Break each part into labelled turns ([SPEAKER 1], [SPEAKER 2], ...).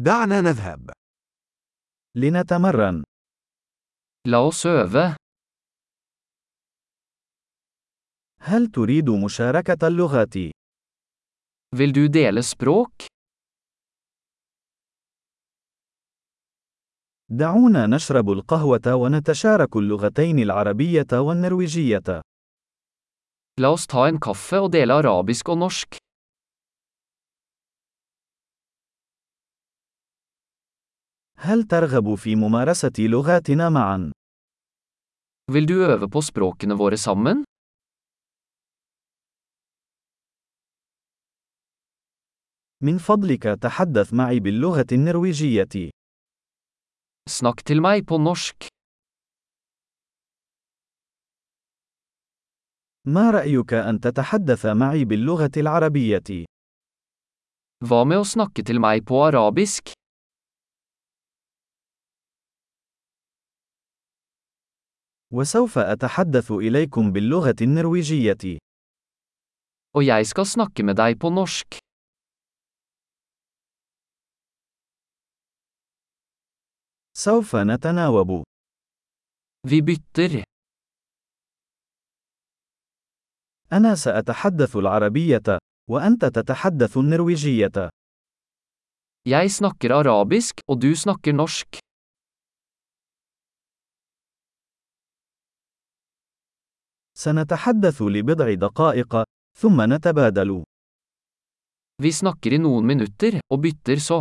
[SPEAKER 1] دعنا نذهب.
[SPEAKER 2] لنتمرن.
[SPEAKER 3] La oss øve.
[SPEAKER 2] هل تريد مشاركة اللغات؟
[SPEAKER 3] Vil du dele språk?
[SPEAKER 2] دعونا نشرب القهوة ونتشارك اللغتين العربية والنرويجية.
[SPEAKER 3] La oss ta en kaffe og dele arabisk og norsk.
[SPEAKER 2] هل ترغب في ممارسة لغاتنا معا؟
[SPEAKER 3] Vil du øve på språkene våre sammen?
[SPEAKER 2] من فضلك تحدث معي باللغة النرويجية.
[SPEAKER 3] Snakk til meg på norsk.
[SPEAKER 2] ما رأيك أن تتحدث معي باللغة العربية؟
[SPEAKER 3] Hva med å snakke til meg på arabisk?
[SPEAKER 2] وسوف أتحدث إليكم باللغة النرويجية.
[SPEAKER 3] Og jeg skal snakke med deg på norsk.
[SPEAKER 2] سوف نتناوب.
[SPEAKER 3] Vi bytter.
[SPEAKER 2] أنا سأتحدث العربية، وأنت تتحدث النرويجية.
[SPEAKER 3] Jeg snakker arabisk, og du snakker norsk.
[SPEAKER 2] سنتحدث لبضع دقائق، ثم نتبادل.
[SPEAKER 3] Vi snakker i noen minutter, og bytter så.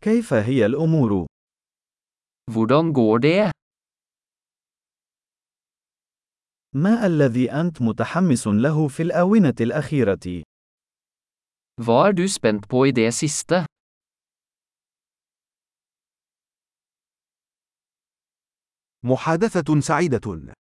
[SPEAKER 2] كيف هي الأمور؟
[SPEAKER 3] Hvordan går det?
[SPEAKER 2] ما الذي أنت متحمس له في الآونة الأخيرة؟
[SPEAKER 3] Hva er du spent på i det siste?
[SPEAKER 1] محادثة سعيدة.